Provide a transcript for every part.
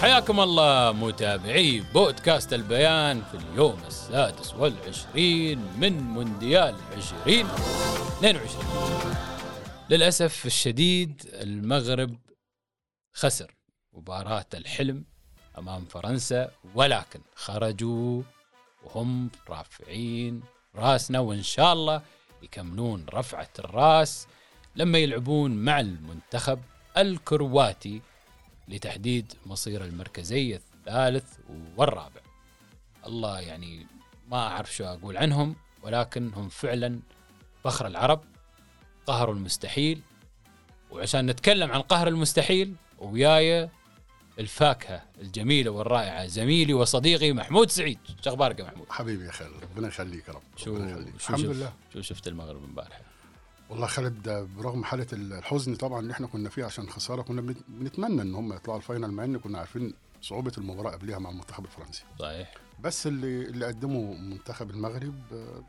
حياكم الله متابعي بودكاست البيان في اليوم السادس والعشرين من مونديال 2022 للأسف الشديد المغرب خسر مباراة الحلم أمام فرنسا ولكن خرجوا وهم رافعين راسنا وإن شاء الله يكملون رفعة الراس لما يلعبون مع المنتخب الكرواتي لتحديد مصير المركزي الثالث والرابع الله يعني ما أعرف شو أقول عنهم ولكن هم فعلا فخر العرب قهروا المستحيل وعشان نتكلم عن قهر المستحيل وياي الفاكهة الجميلة والرائعة زميلي وصديقي محمود سعيد شو أخبارك يا محمود حبيبي يا خالد ربنا يخليك يا رب شو ربنا يخليك شو الحمد شفت- لله شو شفت المغرب امبارح والله خالد آه، برغم حاله ال- الحزن طبعا اللي احنا كنا فيه عشان خساره كنا بن- بنتمنى ان هم يطلعوا الفاينل مع ان كنا عارفين صعوبه المباراه قبلها مع المنتخب الفرنسي صحيح بس اللي اللي قدمه منتخب المغرب آه،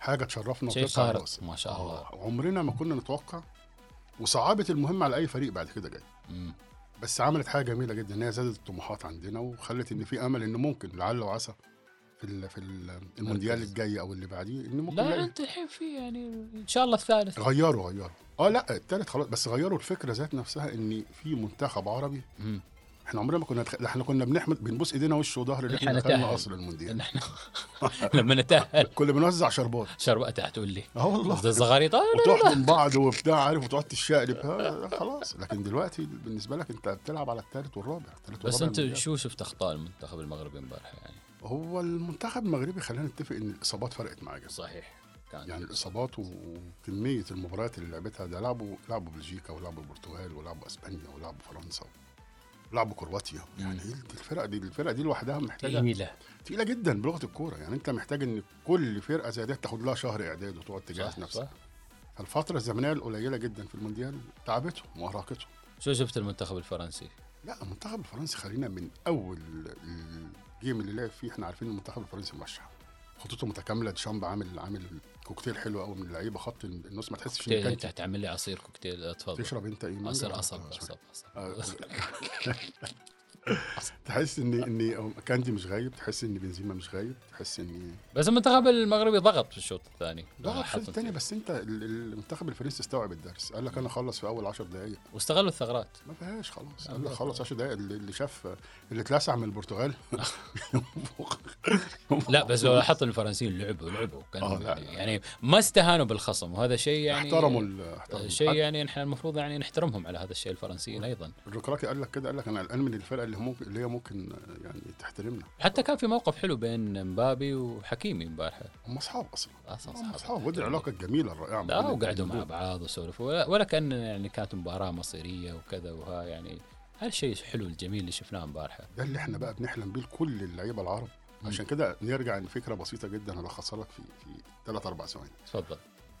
حاجه تشرفنا شيء وترفع خارق الراس. ما شاء الله آه، عمرنا ما كنا نتوقع وصعابه المهمه على اي فريق بعد كده جاي مم. بس عملت حاجه جميله جدا ان هي زادت الطموحات عندنا وخلت ان في امل ان ممكن لعل وعسى في ال في ال المونديال مركز. الجاي او اللي بعديه ان ممكن لا نلاقي- انت الحين في يعني ان شاء الله الثالث غيروا غيروا اه لا التالت خلاص بس غيروا الفكره ذات نفسها ان في منتخب عربي مم. احنا عمرنا ما كنا نتخ... احنا كنا بنحمد بنبوس ايدينا وش وظهر اللي احنا إحنا دخلنا نتأهل. اصل المونديال نحن لما نتاهل كنا بنوزع شربات شربات تقول لي اه والله قصدي الزغاريط آه، لا، لا، لا. وتحضن بعض وبتاع عارف وتقعد تشقلب ها، خلاص لكن دلوقتي بالنسبه لك انت بتلعب على الثالث والرابع الثالث بس والرابع انت المونديال. شو شفت اخطاء المنتخب المغربي امبارح يعني هو المنتخب المغربي خلينا نتفق ان الاصابات فرقت معاه جدا صحيح كان يعني الاصابات و- وكميه المباريات اللي لعبتها ده لعبوا لعبوا بلجيكا ولعبوا البرتغال ولعبوا اسبانيا ولعبوا فرنسا ولعبوا كرواتيا يعني إيه الفرق دي الفرق دي لوحدها محتاجه جميله تقيله جدا بلغه الكوره يعني انت محتاج ان كل فرقه زي دي تاخد لها شهر اعداد وتقعد تجهز نفسك فالفتره الزمنيه القليله جدا في المونديال تعبتهم وارهقتهم شو شفت المنتخب الفرنسي؟ لا المنتخب الفرنسي خلينا من اول الجيم اللي لعب فيه احنا عارفين المنتخب الفرنسي مرشح خطوطه متكامله ديشامب عامل عامل كوكتيل حلو قوي من اللعيبه خط النص ما تحسش ان كوكتيل كانت تعمل لي عصير كوكتيل آه، تفضل تشرب انت ايه مانجا؟ عصير آه، عصب سوري. عصب عصب آه، تحس ان ان كاندي مش غايب تحس ان بنزيما مش غايب تحس ان بس المنتخب المغربي ضغط في الشوط الثاني ضغط في حطوا الثاني فيه. بس انت ال- ال- المنتخب الفرنسي استوعب الدرس قال لك انا اخلص في اول 10 دقائق واستغلوا الثغرات ما فيهاش خلاص قال لك بالظبط. خلص 10 دقائق اللي اللي شاف اللي اتلسع من البرتغال لا بس لو لاحظت الفرنسيين لعبوا لعبوا كانوا آه، اه. لا، لا. يعني ما استهانوا بالخصم وهذا شيء يعني احترموا ال- احترموا شيء يعني نحن المفروض يعني نحترمهم على هذا الشيء الفرنسيين ايضا الركراكي قال لك كده قال لك انا قلقان من الفرقه اللي ممكن اللي هي ممكن يعني تحترمنا حتى كان في موقف حلو بين مبابي وحكيمي امبارح هم اصحاب اصلا اصلا هم اصحاب ودي العلاقه الجميله الرائعه ما لا بين وقعدوا مع الجمهور. بعض وسولفوا ولا, ولا كان يعني كانت مباراه مصيريه وكذا وها يعني هذا الشيء الحلو الجميل اللي شفناه امبارح ده اللي احنا بقى بنحلم بيه لكل اللعيبه العرب عشان كده نرجع لفكره بسيطه جدا هلخصها لك في في ثلاث اربع ثواني تفضل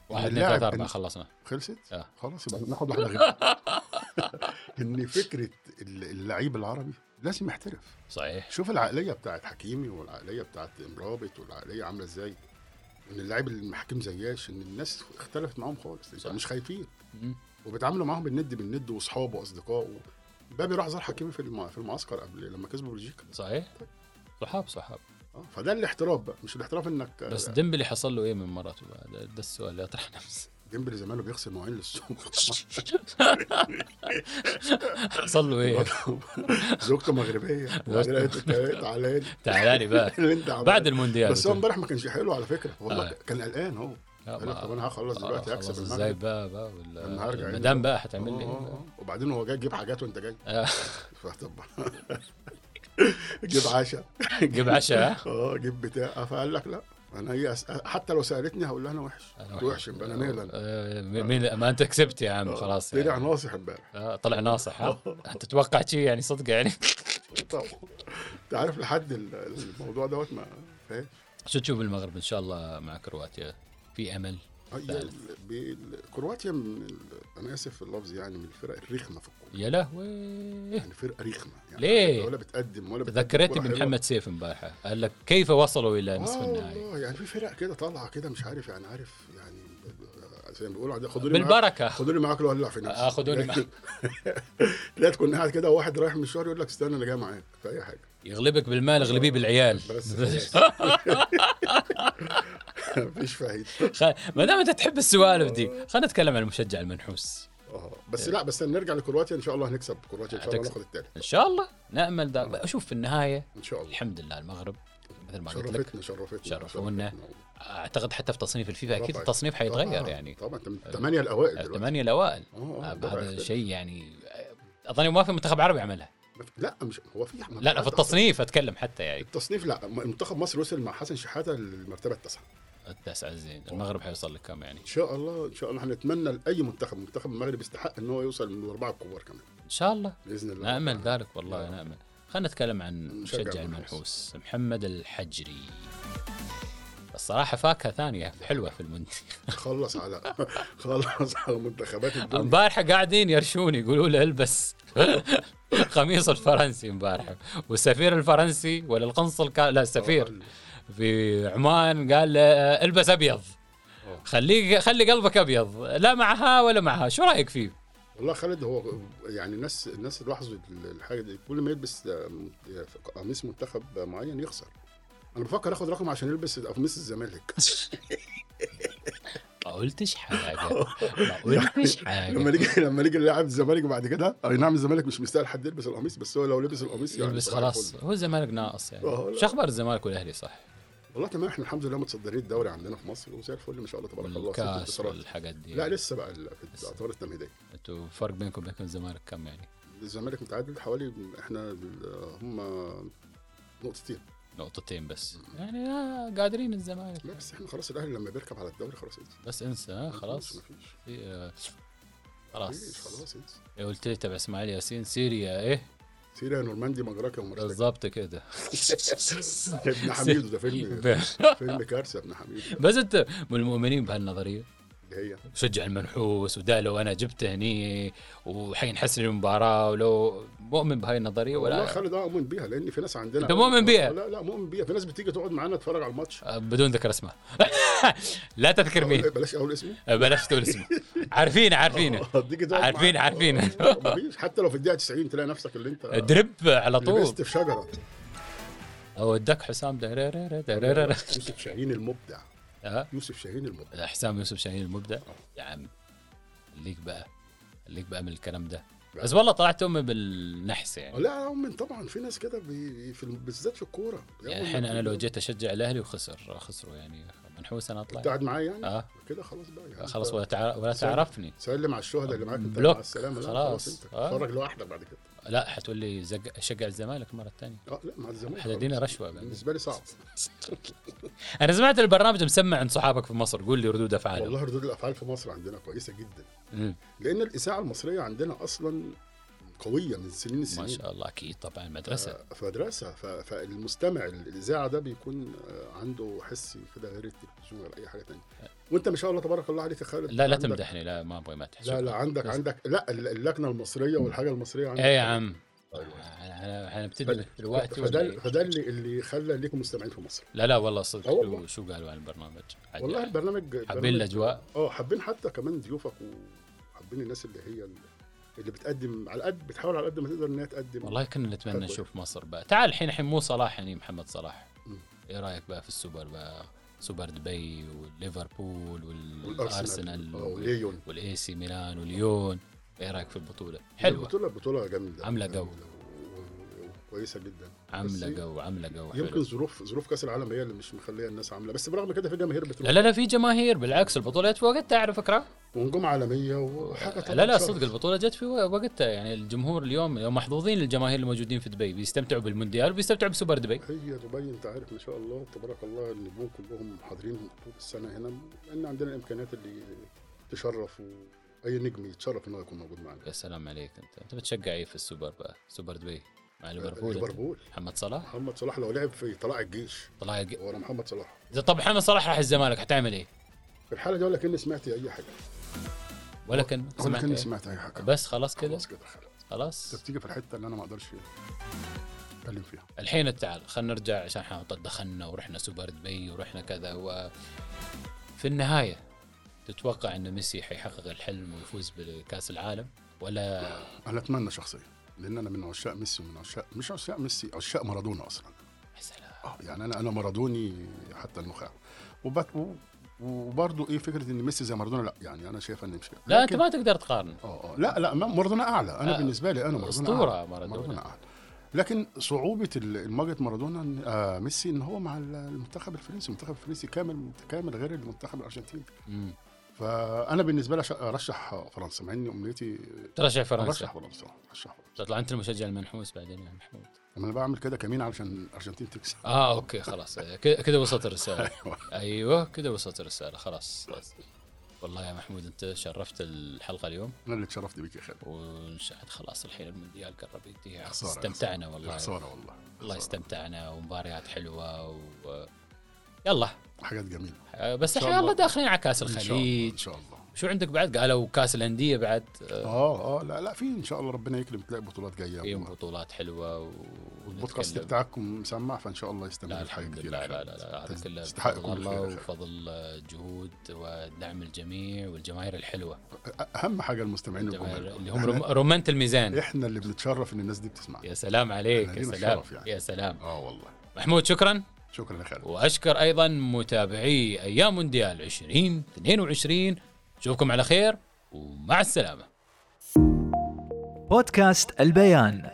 واحد اثنين اللاعب ثلاثة أربعة إن- خلصنا خلصت؟ آه. خلاص يبقى ناخد واحده غير ان فكره ال- اللعيب العربي لازم يحترف صحيح شوف العقليه بتاعت حكيمي والعقليه بتاعت امرابط والعقليه عامله ازاي ان اللاعب المحكم زياش ان الناس اختلفت معاهم خالص صح. صح. مش خايفين مم. وبيتعاملوا معاهم بالند بالند واصحابه واصدقائه مبابي راح زار حكيمي في الم- في المعسكر قبل لما كسبوا بلجيكا صحيح صحاب صحاب آه، فده الاحتراف بقى مش الاحتراف انك آه، بس ديمبلي حصل له ايه من مراته ده, ده السؤال اللي اطرح نفسي ديمبلي زمانه بيغسل مواعين للسوق حصل له ايه زوجته مغربيه تعالى لي تعالى لي بقى اللي انت عملته. بعد المونديال بس هو امبارح ما كانش حلو على فكره والله آه. كان قلقان هو لا، قال ما- لك طب انا هخلص دلوقتي آه، اكسب خلاص ازاي المغرب بقى بقى ولا لما هرجع المدام يعني. بقى حتعمل آه، آه، لي إيه؟ آه. وبعدين هو جاي جيب حاجات وانت جاي آه، فطب جيب عشاء جيب عشاء اه جيب بتاع فقال لك لا انا هي أسأل. حتى لو سالتني هقول لها انا وحش انت وحش يبقى انا ميلا آه، مين ما انت كسبت يا عم خلاص طلع يعني. ناصح امبارح آه، طلع ناصح ها تتوقع شيء يعني صدق يعني طبعا انت عارف لحد ال- الموضوع دوت ما فاهم شو تشوف المغرب ان شاء الله مع كرواتيا في امل هي ال- بال- آه، يعني كرواتيا من ال- انا اسف في اللفظ يعني من الفرق الرخمه في الكوره يا لهوي يعني فرقه رخمه يعني ليه؟ ولا بتقدم ولا بتقدم تذكرتني كرة حلوة. بمحمد سيف امبارحه قال لك كيف وصلوا الى نصف آه النهائي والله، يعني في فرق كده طالعه كده مش عارف يعني عارف يعني ب- ب- زي ما بيقولوا عندنا خدوني معاك بالبركه خدوني معاك لو هولع في نفسي آه، خدوني معاك. لا تكون قاعد كده واحد رايح مشوار يقول لك استنى انا جاي معاك في اي حاجه يغلبك بالمال اغلبيه بالعيال بس خلاص. مفيش فايده خ- ما دام انت تحب السوالف دي خلينا نتكلم عن المشجع المنحوس اه بس لا بس نرجع لكرواتيا ان شاء الله هنكسب كرواتيا ان شاء الله هتكسب. ناخد التالت ان شاء الله نامل ذلك اشوف في النهايه ان شاء الله الحمد لله المغرب مثل ما قلت لك شرفتنا شرفتنا شرفونا. شرفتنا. اعتقد حتى في تصنيف الفيفا اكيد طبعاً. التصنيف حيتغير طبعاً، يعني أه، طبعا انت من الثمانيه الاوائل دلوقتي الثمانيه الاوائل آه، آه، ده بقى هذا يختلف. شيء يعني اظن ما في منتخب عربي عملها لا مش هو في لا لا في التصنيف اتكلم حتى يعني التصنيف لا منتخب مصر وصل مع حسن شحاته للمرتبه التاسعه التاسع زين المغرب حيوصل لكم يعني ان شاء الله ان شاء الله هنتمنى لاي منتخب منتخب المغرب يستحق ان هو يوصل من الاربعه الكبار كمان ان شاء الله باذن الله نامل ذلك والله يا رب. نامل خلينا نتكلم عن مشجع مشجع المنحوس. المنحوس محمد الحجري الصراحة فاكهة ثانية حلوة في المنتخب خلص على خلص على منتخبات الدنيا امبارحة قاعدين يرشون يقولوا له البس قميص الفرنسي امبارحة والسفير الفرنسي ولا القنصل كان لا السفير في عمان قال له آه، البس ابيض آه. خليك خلي قلبك ابيض لا معها ولا معها شو رايك فيه؟ والله خالد هو يعني الناس الناس لاحظوا الحاجه دي كل ما يلبس قميص منتخب معين يخسر انا بفكر اخد رقم عشان يلبس قميص الزمالك ما قلتش حاجة ما قلتش لما حاجة نيجي لما نيجي نلعب الزمالك بعد كده اي نعم الزمالك مش مستاهل حد يلبس القميص بس هو لو لبس القميص يعني بس صباح خلاص الفل. هو الزمالك ناقص يعني آه، لا. شو اخبار الزمالك والاهلي صح؟ والله تمام احنا الحمد لله متصدرين الدوري عندنا في مصر وزي الفل ما شاء الله تبارك الله ست والكاس انتصارات. والحاجات دي لا لسه بقى ال- في الادوار التمهيديه انتوا الفرق بينكم وبين الزمالك كم يعني؟ الزمالك متعادل حوالي احنا ال- هم نقطتين نقطتين بس يعني آه قادرين الزمالك لا بس احنا خلاص الاهلي لما بيركب على الدوري خلاص انسى بس انسى آه، خلاص مفيش في، آه، مفيش، خلاص إيه، خلاص انسى قلت لي تبع اسماعيل ياسين سيريا ايه سيريا نورماندي مجراك ومرشدك بالضبط كده ابن حميدو ده فيلم فيلم كارثه ابن حميدو بس انت من المؤمنين بهالنظريه اللي هي شجع المنحوس وده لو انا جبته هني وحينحسن المباراه ولو مؤمن بهاي النظريه والله ولا خالد اه مؤمن بيها لان في ناس عندنا أنت مؤمن بيها؟ لا لا مؤمن بيها في ناس بتيجي تقعد معانا تتفرج على الماتش بدون ذكر اسمه لا تذكر مين بلاش اقول اسمه بلاش تقول اسمه عارفين عارفين آه، تيجي تقعد عارفين، معانا. عارفين. آه، مفيش حتى لو في الدقيقه 90 تلاقي نفسك اللي انت درب على طول لبست في شجره او ادك حسام دريريري دريريري. يوسف شاهين المبدع آه، يوسف شاهين المبدع حسام يوسف شاهين المبدع يا عم خليك بقى خليك بقى من الكلام ده بس والله طلعت امي بالنحس يعني لا هم طبعا في ناس كده بي- في الم- بالذات في الكوره يعني الحين انا لو جيت اشجع الاهلي وخسر خسروا يعني منحوس انا انت اطلع قاعد معايا يعني اه كده خلاص بقى يعني خلاص أنت ولا تعرف ولا سلام. تعرفني سلم على الشهداء اللي معاك انت بلوك. مع السلامه لا، خلاص. خلاص انت آه. اتفرج لوحدك بعد كده لا حتقول لي زق... شجع الزمالك مره ثانيه اه لا مع الزمالك حد يدينا خلاص. رشوة بقى. بالنسبه لي صعب انا سمعت البرنامج مسمع عند صحابك في مصر قول لي ردود افعالهم والله ردود الافعال في مصر عندنا كويسه جدا مم. لان الاذاعه المصريه عندنا اصلا قويه من سنين ما السنين شاء الله اكيد طبعا مدرسه آه، فمدرسه ف- فالمستمع ال- الاذاعه ده بيكون آه، عنده حس كده غير التلفزيون ولا اي حاجه تانية وانت ما شاء الله تبارك الله عليك يا خالد لا لا عندك- تمدحني لا ما ابغى مدح لا لا عندك عندك لا ال- اللكنه المصريه والحاجه المصريه عندك اي إيه يا عم أيوة. هنبتدي دلوقتي ولا فده إيه؟ ال- فده اللي اللي خلى ليكم مستمعين في مصر لا لا والله آه صدق شو- والله. شو قالوا عن البرنامج عاد والله يعني. البرنامج حابين البرنامج- الاجواء اه حابين حتى كمان ضيوفك وحابين الناس اللي هي ال- اللي بتقدم على قد بتحاول على قد ما تقدر ان هي تقدم والله كنا نتمنى حلو. نشوف مصر بقى تعال الحين الحين مو صلاح يعني محمد صلاح مم. ايه رايك بقى في السوبر بقى سوبر دبي والليفربول والارسنال والارسنال آه، وال- وليون والاي سي ميلان واليون ايه رايك في البطوله حلوه البطوله بطوله جامده عاملة جامدة جو. و- و- كويسه جدا بس عامله جو عامله جو يمكن حلو ظروف ظروف كاس العالم هي اللي مش مخليه الناس عامله بس برغم كده في جماهير لا بتروح لا لا في جماهير بالعكس البطوله جت في وقتها على فكره ونجوم عالميه وحاجه طبعاً لا لا شرف. صدق البطوله جت في وقتها يعني الجمهور اليوم اليوم محظوظين الجماهير الموجودين في دبي بيستمتعوا بالمونديال وبيستمتعوا بسوبر دبي هي دبي انت عارف ما شاء الله تبارك الله النجوم كلهم حاضرين طول السنه هنا لان عندنا الامكانيات اللي تشرف واي نجم يتشرف انه يكون موجود معنا يا سلام عليك انت انت بتشجع ايه في السوبر إيه بقى سوبر دبي مع ليفربول ليفربول محمد صلاح محمد صلاح لو لعب في طلائع الجيش طلع يج- ورا محمد صلاح اذا طب محمد صلاح راح الزمالك حتعمل ايه؟ في الحاله دي ولا كاني سمعت اي حاجه ولا كان ولا سمعت كاني إيه؟ سمعت اي حاجه بس خلاص كده خلاص كده خلاص انت خلاص بتيجي في الحته اللي انا ما اقدرش اتكلم فيها الحين تعال خلينا نرجع عشان احنا طب دخلنا ورحنا سوبر دبي ورحنا كذا و في النهايه تتوقع ان ميسي حيحقق الحلم ويفوز بكاس العالم ولا انا اتمنى شخصيا لان انا من عشاق ميسي ومن عشاق مش عشاق ميسي عشاق مارادونا اصلا يا سلام اه يعني انا انا مارادوني حتى المخاع وبك و- وبرضه ايه فكره ان ميسي زي مارادونا لا يعني انا شايف ان مش كده. لا انت لكن- ما تقدر تقارن اه اه لا لا ما- مارادونا اعلى انا آه، آه بالنسبه لي انا مارادونا أسطورة أعلى. مارادونا. مارادونا اعلى لكن صعوبه المواجهه مارادونا إن- آه ميسي ان هو مع المنتخب الفرنسي المنتخب الفرنسي كامل متكامل غير المنتخب الارجنتيني مم. فانا بالنسبه لي أش- ارشح فرنسا مع اني امنيتي ترشح فرنسا ارشح فرنسا ارشح فرنسا تطلع انت المشجع المنحوس بعدين يا محمود انا بعمل كده كمين علشان الارجنتين تكسب اه اوكي خلاص كذا كذا وصلت الرساله أيوة. ايوه كذا وصلت الرساله خلاص والله يا محمود انت شرفت الحلقه اليوم انا اللي اتشرفت بيك يا خالد ونشهد خلاص الحين المونديال قرب ينتهي خسارة، استمتعنا والله يا خساره والله والله خسارة. استمتعنا ومباريات حلوه و... يلا حاجات جميله آه، بس إن شاء الحين والله الله. داخلين على كاس ان شاء الله ان الخليج شاء الله شو عندك بعد قالوا كاس الانديه بعد آه، اه اه لا لا في ان شاء الله ربنا يكرم تلاقي بطولات جايه فيهم بطولات حلوه و... البودكاست ونتكلم. بتاعكم مسمع فان شاء الله يستمر لا الحاجه الحمد كتير لله يا لا خالد. لا لا هذا كله تستحق بفضل كل الله خير يا خالد. وفضل جهود ودعم الجميع والجماهير الحلوه اهم حاجه المستمعين الجماهير والجمهور اللي هم إحنا- رم- رمانة الميزان احنا اللي بنتشرف ان الناس دي بتسمعنا يا سلام عليك إحنا يا لينا سلام الشرف يعني. يا سلام اه والله محمود شكرا شكرا يا خالد واشكر ايضا متابعي ايام مونديال 2022 نشوفكم على خير ومع السلامه بودكاست البيان